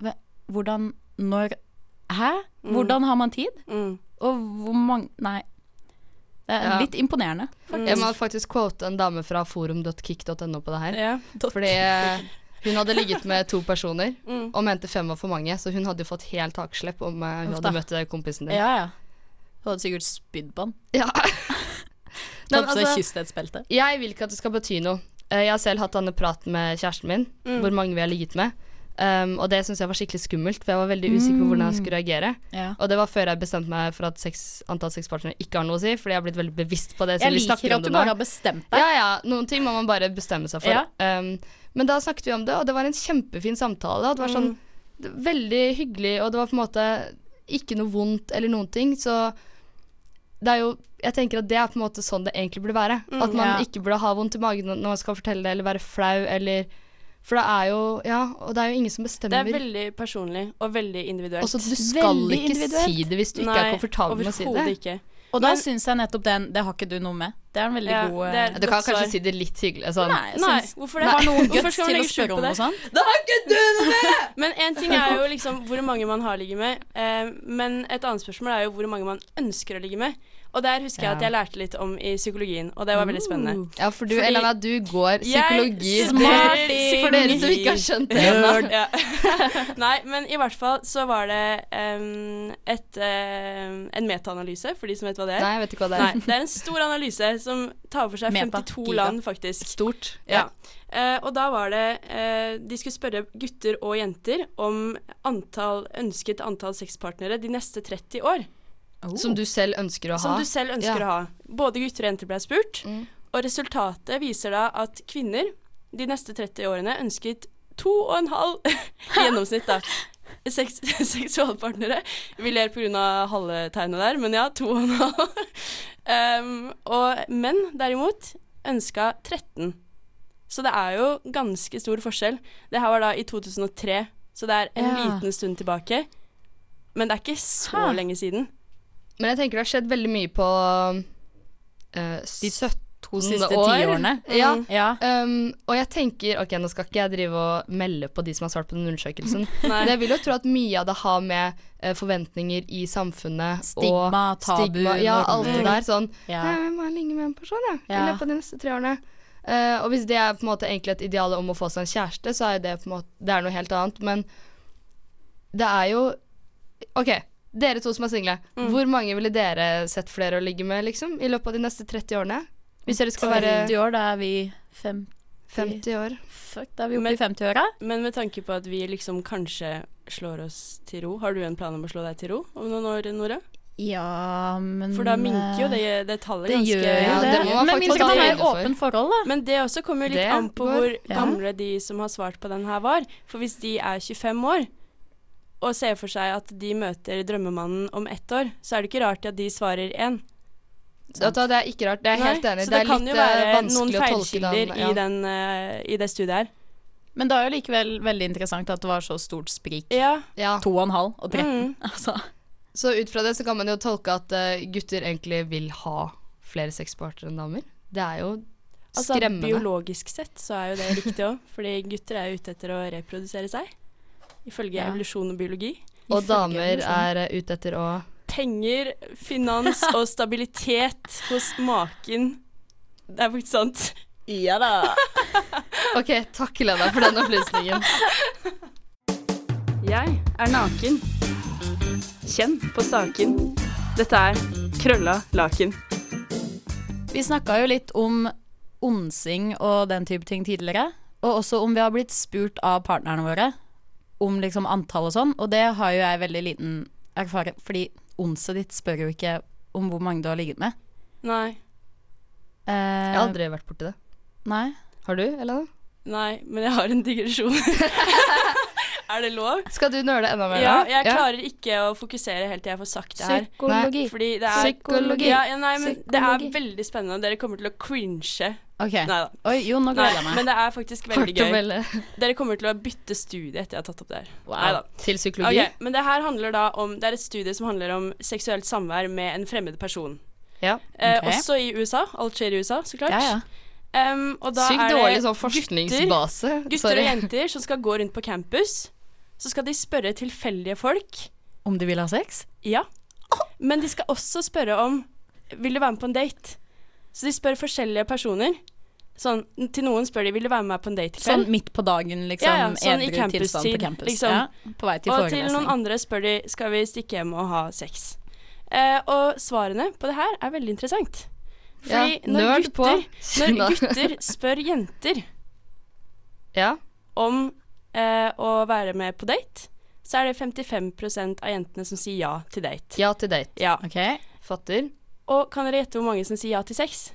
S3: "Hva- Hvordan Når Hæ? Hvordan har man tid?
S2: Mm.
S3: Og hvor mange Nei. Det er
S1: Ja.
S3: litt
S2: Mm.
S3: imponerende.
S1: Jeg må faktisk quote en dame fra forum.kick.no på det her.
S2: Ja.
S1: Fordi eh, hun hadde ligget med to
S3: [LAUGHS]
S1: personer
S2: Mm.
S1: og mente fem var for mange, så hun hadde jo fått helt takslepp om eh, hun
S3: Uff da.
S1: hadde møtt eh, kompisen din.
S3: Ja, ja. Du hadde sikkert spydd på han. [LAUGHS]
S1: Ja. [LAUGHS] Nei, men
S3: Tatt på seg
S1: altså,
S3: kysthetsbelte.
S1: jeg vil ikke at det skal bety noe. Eh, Jeg har selv hatt denne praten med kjæresten min,
S3: Mm.
S1: hvor mange vi har ligget med. Um, og det syns jeg var skikkelig skummelt, for jeg var veldig usikker på
S3: Mm.
S1: hvordan jeg skulle reagere.
S3: Ja.
S1: Og det var før jeg bestemte meg for at seks, antall sexpartnere ikke har noe å si, fordi jeg har blitt veldig bevisst på det. siden
S3: Jeg
S1: vi
S3: liker
S1: snakker om
S3: at du
S1: det nå.
S3: bare har bestemt deg.
S1: Ja, ja. Noen ting må man bare bestemme seg for.
S3: Ja.
S1: Um, men da snakket vi om det, og det var en kjempefin samtale. og Det var sånn det- veldig hyggelig, og det var på en måte ikke noe vondt eller noen ting. Så det er jo Jeg tenker at det er på en måte sånn det egentlig burde være. at man
S3: ja.
S1: ikke burde ha vondt i magen når man skal fortelle det, eller være flau, eller For det er jo Ja, og det er jo ingen som
S2: Det
S1: bestemmer.
S2: er veldig personlig og veldig individuelt.
S1: Og så du skal
S3: veldig
S1: ikke
S3: individuelt.
S1: si det hvis du ikke er komfortabel med å si det.
S2: overhodet ikke.
S3: Og da
S2: Men-
S3: syns jeg nettopp den Det har ikke du noe med. Det er en veldig
S2: Ja,
S3: god
S2: det er-
S1: Du kan
S2: Godt svar.
S1: kanskje si det litt hyggelig. Sånn.
S3: Nei, jeg
S2: Nei,
S3: syns-
S2: hvorfor det?
S3: Har noen
S2: Hvorfor
S3: guts
S2: skal man
S3: til
S2: legge
S3: å
S2: skjul
S3: spørre
S2: på
S3: om noe
S2: det?
S3: sånt?
S2: Men en ting er jo liksom hvor mange man har ligget med, eh, men et annet spørsmål er jo hvor mange man ønsker å ligge med. Og der husker jeg at
S1: Ja.
S2: jeg lærte litt om i psykologien, og det var veldig spennende.
S1: Ja, for du,
S2: Fordi-
S1: Elena, du går psykologi.
S2: Jeg
S3: Smart
S2: studerer
S3: ding.
S1: [LAUGHS] For dere som ikke har skjønt det ennå.
S2: [LAUGHS] Ja. [LAUGHS] Nei, men i hvert fall så var det em, et, em, en metaanalyse, for de som vet hva det er.
S1: Nei, jeg vet ikke hva det
S2: Nei,
S1: er.
S2: det er en stor analyse som tar for seg
S3: Meta,
S2: 52
S3: giga.
S2: land, faktisk.
S1: Stort.
S2: Ja. Eh, og da var det eh, De skulle spørre gutter og jenter om antall, ønsket antall sexpartnere de neste 30 år.
S1: Som du selv ønsker å ha.
S2: Som du selv ønsker
S1: Ja.
S2: å ha. Både gutter og jenter ble spurt.
S1: Mm.
S2: Og resultatet viser da at kvinner de neste 30 årene ønsket to og en halv [LAUGHS] i gjennomsnitt, da. Seks, [LAUGHS] seksualpartnere. Vi ler pga. halvetegnet der, men ja, to og en halv. [LAUGHS] Um, og menn, derimot, ønska 13. Så det er jo ganske stor forskjell. Det her var da i 2003, så det er en
S3: Ja.
S2: liten stund tilbake. Men det er ikke så
S3: Ha.
S2: lenge siden.
S1: Men jeg tenker det har skjedd veldig mye på eh, 17
S3: to siste
S1: år.
S3: tiårene.
S1: Ja.
S2: Mm.
S3: Ja.
S1: Um, og jeg tenker Ok, nå skal ikke jeg drive og melde på de som har svart på den undersøkelsen.
S2: [LAUGHS] Nei.
S1: Men jeg vil jo tro at mye av det har med eh, forventninger i samfunnet
S3: Stigma,
S1: og
S3: tabu,
S1: stigma, Ja, alt det
S3: normer.
S1: der. Sånn
S3: Ja.
S1: Nei, men jeg må ligge med en person, jeg. I
S3: Ja.
S1: løpet av de neste tre årene. Eh, og hvis det er på en måte egentlig et ideal om å få seg en kjæreste, så er jo det på en måte Det er noe helt annet, men det er jo OK, dere to som er single.
S2: Mm.
S1: Hvor mange ville dere sett flere å ligge med, liksom? I løpet av de neste 30 årene? Hvis dere skal være
S3: 50 år, da er vi fem...
S1: 50 år.
S3: Fuck, da er vi oppe
S2: Men-
S3: i 50-åra.
S2: Men med tanke på at vi liksom kanskje slår oss til ro, har du en plan om å slå deg til ro om noen år, Nora?
S3: Ja, men eh,
S2: For da minker jo det, det tallet
S3: Det
S2: ganske
S3: gjør jo
S1: Ja,
S3: det.
S1: Mm, eh, det må man
S3: Men
S1: faktisk
S3: hvis man
S1: ta
S3: har
S1: høyde for.
S3: åpent forhold, da.
S2: Men det også kommer jo litt
S1: Det
S2: an på
S1: går.
S2: hvor
S1: Ja.
S2: gamle de som har svart på den her var. For hvis de er 25 år og ser for seg at de møter drømmemannen om ett år, så er det ikke rart at de svarer én.
S1: Vet du hva, det er ikke rart. Det er jeg
S2: Nei,
S1: helt enig. i. Det
S2: Så det,
S1: er
S2: kan
S1: litt
S2: jo
S1: eh,
S2: være noen
S1: vanskelig å tolke
S2: feilkilder
S1: den.
S2: i, den, eh, i det studiet her.
S3: Men det er jo likevel veldig interessant at det var så stort sprik.
S2: Ja.
S1: Ja.
S3: To og en halv og 13,
S2: Mm.
S3: [LAUGHS] altså.
S1: Så ut fra det så kan man jo tolke at eh, gutter egentlig vil ha flere sexpartnere enn damer. Det er jo
S2: Altså,
S1: skremmende.
S2: biologisk sett så er jo det riktig òg, fordi gutter er jo ute etter å reprodusere seg. Ifølge
S3: Ja.
S2: evolusjon og biologi.
S1: og damer
S2: liksom.
S1: er eh, ute etter å [LAUGHS]
S2: penger, finans og stabilitet hos maken. Det er faktisk sant.
S3: Ja da.
S1: OK, takk, Lena, for den opplysningen.
S2: Jeg er naken. Kjenn på saken. Dette er krølla laken.
S3: Vi snakka jo litt om onsing og den type ting tidligere. Og også om vi har blitt spurt av partnerne våre om liksom antall og sånn. Og det har jo jeg veldig liten erfaring Fordi onset ditt spør jo ikke om hvor mange du har ligget med.
S2: Nei.
S3: Eh,
S1: Jeg har aldri vært borti det.
S3: Nei.
S1: Har du, Elena?
S2: Nei, men jeg har en [LAUGHS] digresjon. er det lov?
S1: Skal du nøle enda mer?
S2: Ja,
S1: da?
S2: jeg klarer ikke å fokusere helt til jeg får sagt det her.
S1: Psykologi.
S2: Fordi det er
S1: Psykologi.
S2: Ja, ja, nei, men det er
S3: Psykologi.
S2: veldig spennende, og dere kommer til å cringe.
S3: OK.
S2: Neida.
S3: Oi, jo, nå
S2: Nei
S3: gleder jeg meg.
S2: men det er faktisk veldig
S1: Hardt å
S2: gøy.
S1: melde.
S2: Dere kommer til å bytte studie etter jeg har tatt opp det her.
S1: Wow.
S2: Neida.
S1: Til psykologi?
S2: Ok, men det her handler da om Det er et studie som handler om seksuelt samvær med en fremmed person.
S1: Ja.
S2: Eh,
S3: Ok.
S2: Også i USA. Alt skjer i USA, så klart.
S3: Ja, ja.
S2: Em, og da er
S1: Sykt
S2: det
S1: dårlig sånn
S2: gutter,
S1: forskningsbase.
S2: gutter og jenter som skal gå rundt på campus. Så skal de spørre tilfeldige folk.
S3: Om du vil ha sex?
S2: Ja. Men de skal også spørre om Vil du være med på en date? Så de spør forskjellige personer. Sånn, til noen spør de Vil du være med meg på en date i kveld.
S3: Sånn midt på dagen, liksom?
S2: Ja, ja, sånn i
S3: edru tilstand
S2: campustid,
S3: på campus.
S2: liksom.
S3: Ja, på vei til
S2: og til noen
S3: forelesning.
S2: andre spør de skal vi stikke hjem og ha sex. Eh, og svarene på det her er veldig interessant. Fordi når,
S1: nerd på.
S2: gutter,
S1: [LAUGHS]
S2: når gutter spør jenter
S1: ja.
S2: om eh, å være med på date, så er det 55 av jentene som sier ja til date.
S1: ja til date.
S2: Ja.
S3: OK.
S1: Fatter.
S2: Og kan dere gjette hvor mange som sier ja til sex?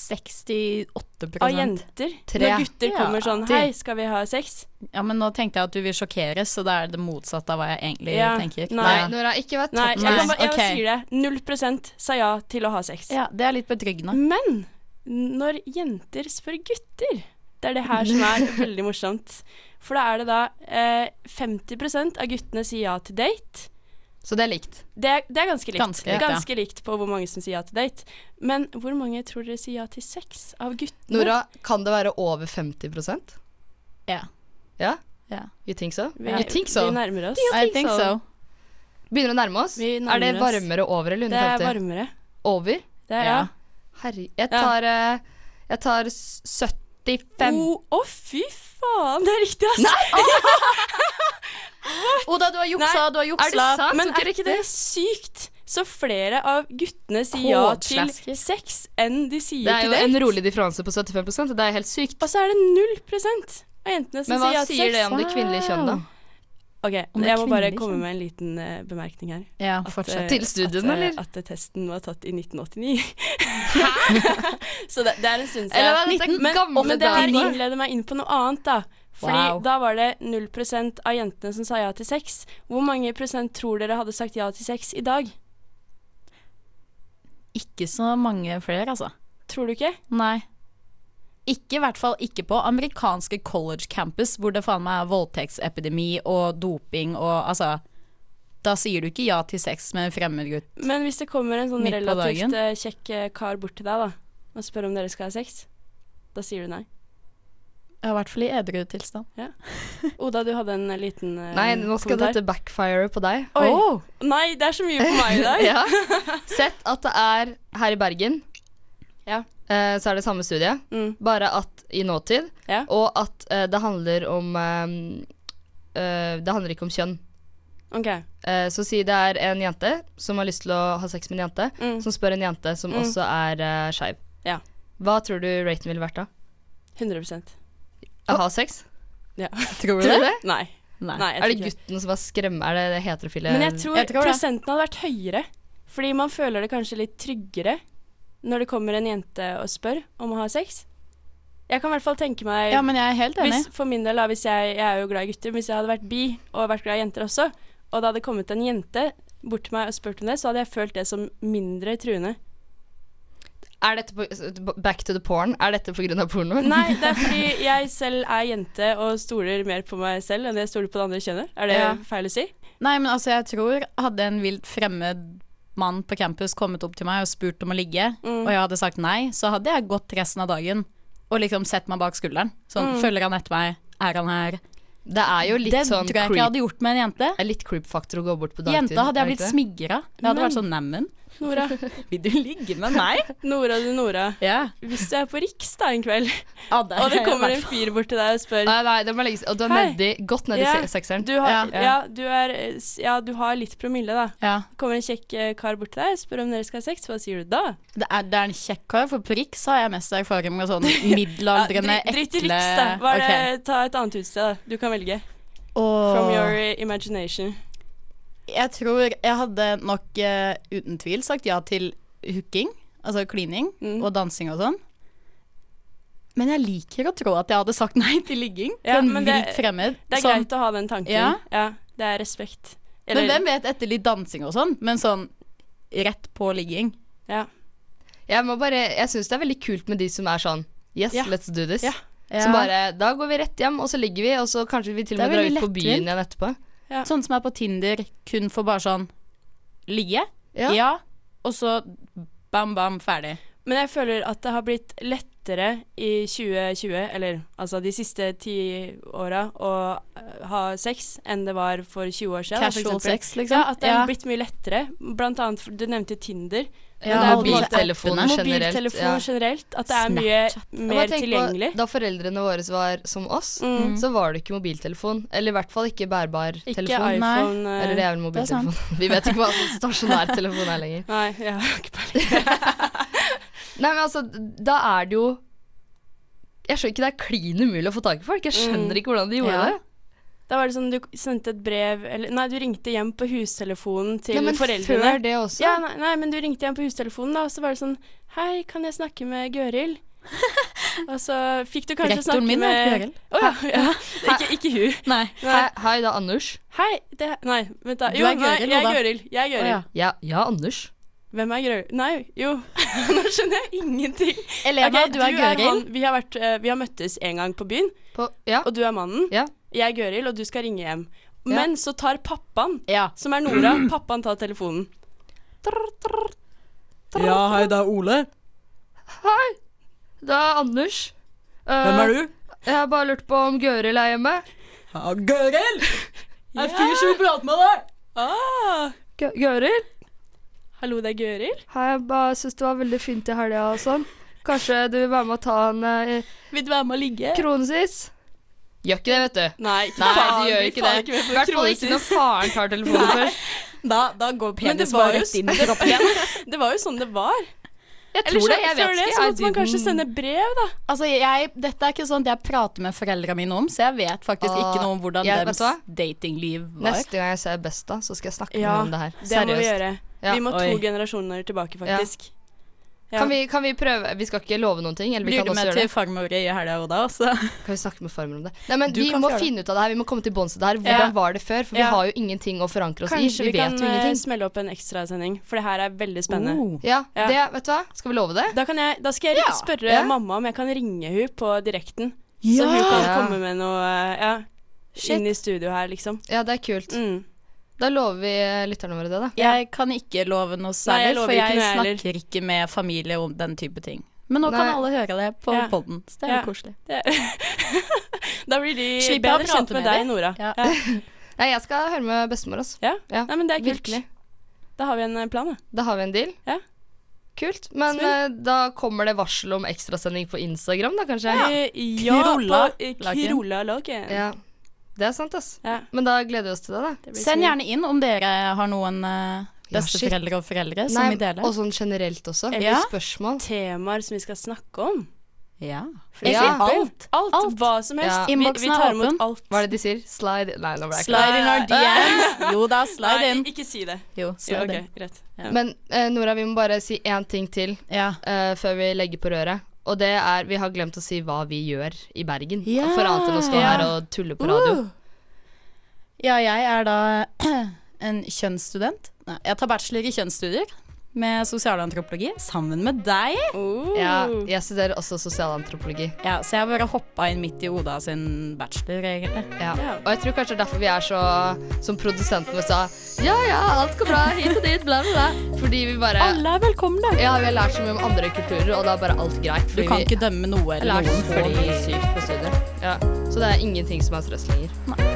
S3: 68
S2: Av jenter.
S1: Tre.
S2: Når gutter
S3: Ja,
S2: kommer sånn
S1: ti.
S2: Hei, skal vi ha sex?
S3: Ja, men nå tenkte jeg at du vil sjokkeres, så det er det motsatte av hva jeg egentlig
S2: Ja,
S3: tenker.
S2: nei.
S1: Nei,
S3: Ja.
S1: når jeg ikke vet
S2: Nei, jeg,
S1: toppen.
S3: Nei,
S2: kan bare, jeg
S3: ok.
S2: bare sier det. 0 sa ja til å ha sex.
S3: Ja, det er litt betryggende.
S2: Men når jenter spør gutter Det er det her som er veldig morsomt. For da er det da eh, 50 av guttene sier ja til date.
S1: Så det er likt.
S2: Det er, det er ganske likt.
S3: Ganske likt, ja.
S2: ganske likt på hvor mange som sier ja til date. Men hvor mange tror dere sier ja til sex av guttene?
S1: Nora, kan det være over 50
S3: Ja.
S1: Ja?
S3: Ja.
S1: You think so?
S2: vi,
S1: You think so?
S2: vi nærmer oss.
S3: I
S1: think
S3: think
S1: so.
S3: so.
S1: Begynner å nærme oss?
S2: Vi nærmer
S1: Er det
S2: oss.
S1: varmere over eller
S2: Det
S1: under
S2: er
S1: 50?
S2: varmere.
S1: Over?
S2: Det er, ja.
S3: Ja.
S1: Herre... Jeg
S2: Ja.
S1: tar, eh, jeg tar s- 75.
S2: Å, å, fy faen! Det er riktig, ass!
S3: Oda, du har juksa,
S2: Nei,
S3: du
S1: er
S3: har
S1: det
S3: juksa.
S1: sant?
S2: Men
S1: Tok
S2: er
S1: jeg riktig?
S2: ikke det sykt? Så flere av guttene sier ja til
S3: Kåtslasker.
S2: sex enn de sier
S1: Det er
S2: til
S1: jo
S2: date.
S1: en rolig differanse på 75 og det er helt sykt.
S2: Og så er det null prosent av jentene
S1: Men
S2: som
S1: hva
S2: sier ja til
S1: sier det
S2: sex.
S1: om det kvinnelige kjønn, da?
S2: Ok,
S3: Om det
S2: Jeg må bare
S3: kvinnelige
S2: komme
S3: kjønn?
S2: med en liten eh, bemerkning her.
S3: Ja,
S2: eh,
S1: liksom?
S3: fortsett.
S1: Til studien,
S2: at, eh,
S1: eller?
S2: At eh, testen var tatt i 1989. [LAUGHS] så det, det er en stund
S1: Eller hva
S2: siden.
S1: er dette
S2: Men,
S1: gamle
S2: men det her
S1: damer?
S2: innleder meg inn på noe annet, da. Fordi
S3: Wow.
S2: da var det null prosent av jentene som sa ja til sex. Hvor mange prosent tror dere hadde sagt ja til sex i dag?
S3: eh, Ikke så mange flere, altså.
S2: Tror du ikke?
S3: Nei. Ikke i hvert fall ikke på amerikanske college campus, hvor det faen meg er voldtektsepidemi og doping og altså Da sier du ikke ja til sex med en fremmed gutt.
S2: Men hvis det kommer en sånn
S3: Midt på
S2: relativt
S3: dagen.
S2: eh, kjekk eh, kar bort til deg da og spør om dere skal ha sex, da sier du nei.
S3: Ja, I hvert fall i edru tilstand.
S2: Oda, du hadde en eh, liten eh,
S1: Nei, nå skal
S2: kommentar.
S1: dette backfire på deg.
S2: Oi.
S3: Åh.
S2: Nei, det er så mye på meg i dag.
S1: [LAUGHS] ja. Sett at det er her i Bergen,
S2: Ja.
S1: eh, så er det samme studie,
S2: Mm.
S1: bare at i nåtid,
S2: Ja.
S1: og at eh, det handler om eh, eh, Det handler ikke om kjønn.
S2: OK.
S1: Eh, så si det er en jente som har lyst til å ha sex med en jente,
S2: Mm.
S1: som spør en jente som
S2: Mm.
S1: også er uh, skeiv.
S2: Ja.
S1: Hva tror du raten ville vært da?
S2: 100
S1: Å ha sex?
S2: [LAUGHS]
S3: Tror
S1: Tror du [LAUGHS] det?
S2: Nei.
S3: Nei.
S2: nei jeg
S1: Er
S2: tror
S1: det
S2: ikke
S1: gutten som er skremme? Er det det heterofile
S2: Men jeg tror,
S3: Jeg tror det.
S2: prosenten hadde vært høyere. Fordi man føler det kanskje litt tryggere når det kommer en jente og spør om å ha sex. Jeg kan i hvert fall tenke meg
S3: Ja, men jeg er helt enig.
S2: hvis, For min del, da, hvis jeg, jeg er jo glad i gutter, men hvis jeg hadde vært bi og vært glad i jenter også, og det hadde kommet en jente bort til meg og spurt om det, så hadde jeg følt det som mindre truende.
S1: Er dette på, back to the porn? Er dette på grunn av pornoen?
S2: Nei, det er fordi jeg selv er jente og stoler mer på meg selv enn jeg stoler på det andre kjønnet. Er det
S1: Ja.
S2: feil å si?
S3: Nei, men altså, jeg tror hadde en vilt fremmed mann på campus kommet opp til meg og spurt om å ligge,
S2: Mm.
S3: og jeg hadde sagt nei, så hadde jeg gått resten av dagen og liksom sett meg bak skulderen. Sånn,
S2: Mm.
S3: følger han etter meg? Er han her?
S1: Det er jo litt
S3: det
S1: sånn
S3: tror jeg ikke jeg
S1: creep,
S3: hadde gjort med en jente.
S1: er litt creep-faktor å gå bort på dagtid.
S3: Jenta hadde
S1: er det
S3: jeg blitt
S1: ikke det?
S3: smigra. Jeg hadde vært sånn neimen,
S2: Nora,
S3: vil du ligge med meg?
S2: [LAUGHS] Nora du Nora.
S3: [LAUGHS] Ja.
S2: Hvis du er på Riks da en kveld,
S3: Ja, det-
S2: og det kommer en fyr bort til deg og spør
S1: Nei, nei, det må legges Og du er
S2: Hei.
S1: nedi, godt nedi
S2: Ja.
S1: se- sekseren.
S2: du har,
S1: Ja.
S2: ja. du er, ja, du har litt promille, da.
S3: Ja.
S2: Kommer en kjekk eh, kar bort til deg og spør om dere skal ha sex, hva sier du da?
S3: Det er, det er en kjekk kar, for Prix har jeg mest erfaring
S2: [LAUGHS]
S3: med sånn middelaldrende,
S2: Ja, drit- Drit i
S3: ekle
S2: Riks, da. Hva er det,
S3: Ok.
S2: Ta et annet utsted, da. Du kan velge.
S3: Åh.
S2: From your eh, imagination.
S3: Jeg tror jeg hadde nok eh, uten tvil sagt ja til hooking, altså klining,
S2: Mm.
S3: og dansing og sånn. Men jeg liker å tro at jeg hadde sagt [LAUGHS] nei til ligging
S2: Ja,
S3: til en
S2: men det-
S3: vilt fremmed.
S2: Det er
S3: som-
S2: greit å ha den tanken. Ja.
S3: Ja.
S2: det er respekt.
S3: Men hvem vet etter litt dansing og sånn, men sånn rett på ligging.
S2: Ja.
S1: Jeg, må bare, jeg syns det er veldig kult med de som er sånn Yes,
S2: Ja.
S1: let's do this.
S2: Ja.
S1: Som bare Da går vi rett hjem, og så ligger vi, og så kanskje vi til og med
S3: Det er
S1: drar
S3: veldig
S1: ut på byen
S3: lettvint.
S1: igjen etterpå.
S3: Sånn som er på Tinder, kun for bare sånn ligge.
S1: Ja.
S3: Ja. Og så bam, bam, ferdig.
S2: Men jeg føler at det har blitt lettere i 2020, eller altså de siste ti åra, å eh, ha sex enn det var for 20 år siden. da, for
S3: Casual
S2: eksempel.
S3: sex, liksom.
S2: Ja, at det har
S3: Ja.
S2: blitt mye lettere. Blant annet, for- du nevnte Tinder.
S3: Ja,
S2: det er jo på en måte-
S1: Mobiltelefon
S3: appene.
S1: generelt.
S2: Mobiltelefon
S1: ja.
S2: generelt. At det er mye
S3: Snapchat.
S1: Jeg
S2: mer
S1: bare tenker på,
S2: tilgjengelig.
S1: Da foreldrene våre var som oss,
S2: Mm.
S1: så var det ikke mobiltelefon. Eller i hvert fall ikke bærbar
S2: Ikke
S1: telefon.
S3: nei.
S2: iPhone. eh,
S1: Eller det er vel
S3: Det er sant.
S1: mobiltelefon. [LAUGHS] Vi vet ikke hva sånn stasjonær telefon er lenger.
S2: Nei, jeg har [LAUGHS] ikke peiling.
S1: Nei, men altså, da er det jo Jeg skjønner ikke, det er klin umulig å få tak i folk. Jeg
S2: Mm.
S1: skjønner ikke hvordan de gjorde
S3: Ja.
S1: det.
S2: Da var det sånn, du sendte et brev eller, Nei, du ringte hjem på hustelefonen til
S1: Nei, men
S2: foreldrene.
S1: før det også.
S2: Ja, nei, nei, men du ringte hjem på hustelefonen, da, og så var det sånn Hei, kan jeg snakke med
S3: [LAUGHS]
S2: Gøril? og så fikk du kanskje
S3: Rektoren
S2: snakke
S3: min
S2: med
S3: er Gøril.
S2: Å ja. ja. Ikke, ikke hun.
S3: Nei.
S1: Hei,
S2: Nei.
S1: hei, det er Anders.
S2: Hei, det Nei, vent, da.
S3: Du
S2: Jo,
S3: er
S2: nei,
S3: Gøril,
S2: jeg
S3: Oda.
S2: er Gøril. Jeg er
S3: Å,
S2: Gøril.
S3: ja.
S1: Ja, ja Anders.
S2: Hvem er Gøril? Nei, jo. [LAUGHS] Nå skjønner jeg ingenting.
S3: Elena,
S2: Ok,
S3: du er Gøril.
S2: mann. Vi, har vært, eh, vi har møttes en gang på byen,
S1: På, ja.
S2: og du er mannen.
S1: Ja.
S2: Jeg er Gøril, og du skal ringe hjem.
S1: Ja.
S2: Men så tar pappaen,
S3: Ja.
S2: som er Nora,
S1: Mm.
S2: pappaen tar telefonen.
S4: Ja, hei, det er Ole.
S1: Hei, det er Anders. eh,
S4: Hvem er du?
S1: Jeg har bare lurt på om Gøril er hjemme.
S4: Ja, Gøril! Det er fyr som vil prate med deg.
S2: Ah,
S1: Gø- Gøril?
S2: hallo, det er Gøril.
S1: Hei, jeg bare syns det var veldig fint i helga og sånn. Kanskje du vil være med og ta en eh,
S2: Vil du være med og ligge?
S1: kronesis? Gjør ikke det, vet du.
S2: Nei, ikke
S1: Nei,
S2: faen,
S1: de gjør
S2: vi
S1: ikke
S2: faen
S1: det.
S2: Ikke med
S1: I
S2: på
S1: hvert fall ikke
S2: kronesis.
S1: når faren tar telefonen først.
S3: Da, da går
S2: Men det
S3: penis
S2: var,
S3: bare
S2: jo,
S3: rett inn i
S2: det,
S3: kroppen.
S2: [LAUGHS] det var jo sånn det var.
S1: Jeg
S2: Eller
S1: tror
S2: så,
S1: det, jeg
S2: før
S1: vet
S2: det
S1: ikke. I
S2: så måtte man
S1: didn't-
S2: kanskje sende brev, da.
S3: Altså, jeg, dette er ikke sånt jeg prater med foreldra mine om, så jeg vet faktisk
S1: Ah,
S3: ikke noe om hvordan
S1: jeg- vet
S3: deres
S1: du hva?
S3: datingliv var.
S1: Neste gang jeg ser Besta, så skal jeg snakke med
S2: Ja,
S1: henne om det her.
S2: Det må vi
S1: Seriøst.
S2: gjøre.
S1: Ja.
S2: Vi må to
S3: Oi.
S2: generasjoner tilbake, faktisk. Ja.
S1: Kan vi, kan vi prøve Vi skal ikke love noen ting. Eller vi
S3: Blir
S1: kan
S3: du
S1: også
S3: med
S1: gjøre det.
S3: til farmor i helga, Oda? Også?
S1: Kan vi snakke med farmor om det? Nei, men
S3: Du
S1: Vi
S3: kan
S1: må
S3: få gjøre det.
S1: finne ut av det her. Vi må komme til bunns i det her. Hvordan
S3: Ja.
S1: var det før? For vi
S2: Ja.
S1: har jo ingenting å forankre oss
S2: Kanskje
S1: i.
S2: vi,
S1: Vi,
S2: kan
S1: vet jo
S2: eh,
S1: ingenting.
S2: smelle opp en ekstrasending, for det her er veldig [LAUGHS] spennende.
S3: Oh.
S1: Ja,
S2: Ja.
S1: det, vet du hva? Skal vi love det?
S2: Da, kan jeg, da skal jeg
S3: Ja.
S2: spørre
S1: Ja.
S2: mamma om jeg kan ringe hun på direkten, så hun
S3: Ja!
S2: kan
S1: Ja.
S2: komme med noe eh, ja,
S3: Shit.
S2: inn i studio her, liksom.
S1: Ja, det er kult.
S2: Mm.
S1: Da lover vi eh, lytterne våre det, da.
S3: Jeg kan ikke love
S2: Nei,
S3: noe
S2: jeg
S3: særlig,
S2: lover
S3: for
S2: ikke
S3: jeg
S2: noe jeg heller.
S3: snakker ikke med familie om den type ting. Men nå
S1: Nei.
S3: kan alle høre det på
S2: Ja.
S3: podden, så det er
S2: Ja.
S3: jo koselig.
S2: Da blir de
S3: Slipper jeg å
S2: bedre
S3: prate
S2: kjent med
S3: med
S2: deg,
S3: dem.
S2: Nora.
S3: Ja.
S1: Nei, jeg skal høre med bestemor, altså.
S2: Ja.
S1: Ja,
S2: Nei, men det er kult.
S1: Virkelig.
S2: Da har vi en eh, plan, da.
S1: Da har vi en deal.
S2: Ja.
S1: Kult. Men eh, da kommer det varsel om ekstrasending på Instagram, da kanskje?
S2: Eh, Ja,
S3: Krolla
S2: på, eh,
S3: laken.
S2: Krolla laken.
S1: Ja. Det er sant, ass.
S2: Ja.
S1: Men da gleder vi oss til det, da.
S2: Det blir
S3: Send
S2: så-
S3: gjerne inn om dere har noen eh,
S1: Ja, shit.
S3: besteforeldre og foreldre som vil dele.
S1: og sånn generelt også.
S2: Eller-
S1: Ja. Spørsmål.
S2: temaer som vi skal snakke om.
S3: Ja.
S1: eksempel. Ja.
S3: Alt.
S2: Alt,
S3: Alt.
S2: hva som helst.
S1: Ja.
S2: Vi, vi
S3: Innboksen er
S2: tar imot
S3: åpen.
S2: alt.
S1: Hva er det de sier? Slide Nei, nå ble jeg klar.
S3: Slide in our DMs. [LAUGHS] Jo da, slide
S2: Nei,
S3: in.
S2: ikke si det.
S3: Jo,
S2: Jo,
S3: slide
S2: ok,
S3: in.
S2: greit.
S1: Men eh, Nora, vi må bare si én ting til
S3: Ja.
S1: eh, før vi legger på røret. Og det er Vi har glemt å si hva vi gjør i Bergen.
S3: Ja. Uh.
S1: For annet enn å stå
S3: Ja.
S1: her og tulle på radio.
S3: Ja, jeg er da [CLEARS THROAT] en kjønnsstudent. Nei, jeg tar bachelor i kjønnsstudier med sosialantropologi sammen med deg.
S2: Oh.
S1: Ja, jeg studerer også sosialantropologi.
S3: Ja, så jeg bare hoppa inn midt i Oda sin bachelor, egentlig.
S1: Ja.
S2: Ja.
S1: Og jeg tror kanskje det er derfor vi er så Som produsenten vår sa Ja ja, alt går bra, hit og dit, bla bla bla Fordi vi bare
S3: Alle er velkomne.
S1: Ja, vi har lært så mye om andre kulturer Og da er bare alt greit
S3: Du
S1: Fordi
S3: kan ikke dømme noe
S1: vi har
S3: eller
S1: lært
S3: noen
S1: så
S3: fordi
S1: mye sykt på studiet ja. Så det er ingenting som er stress lenger
S3: Nei.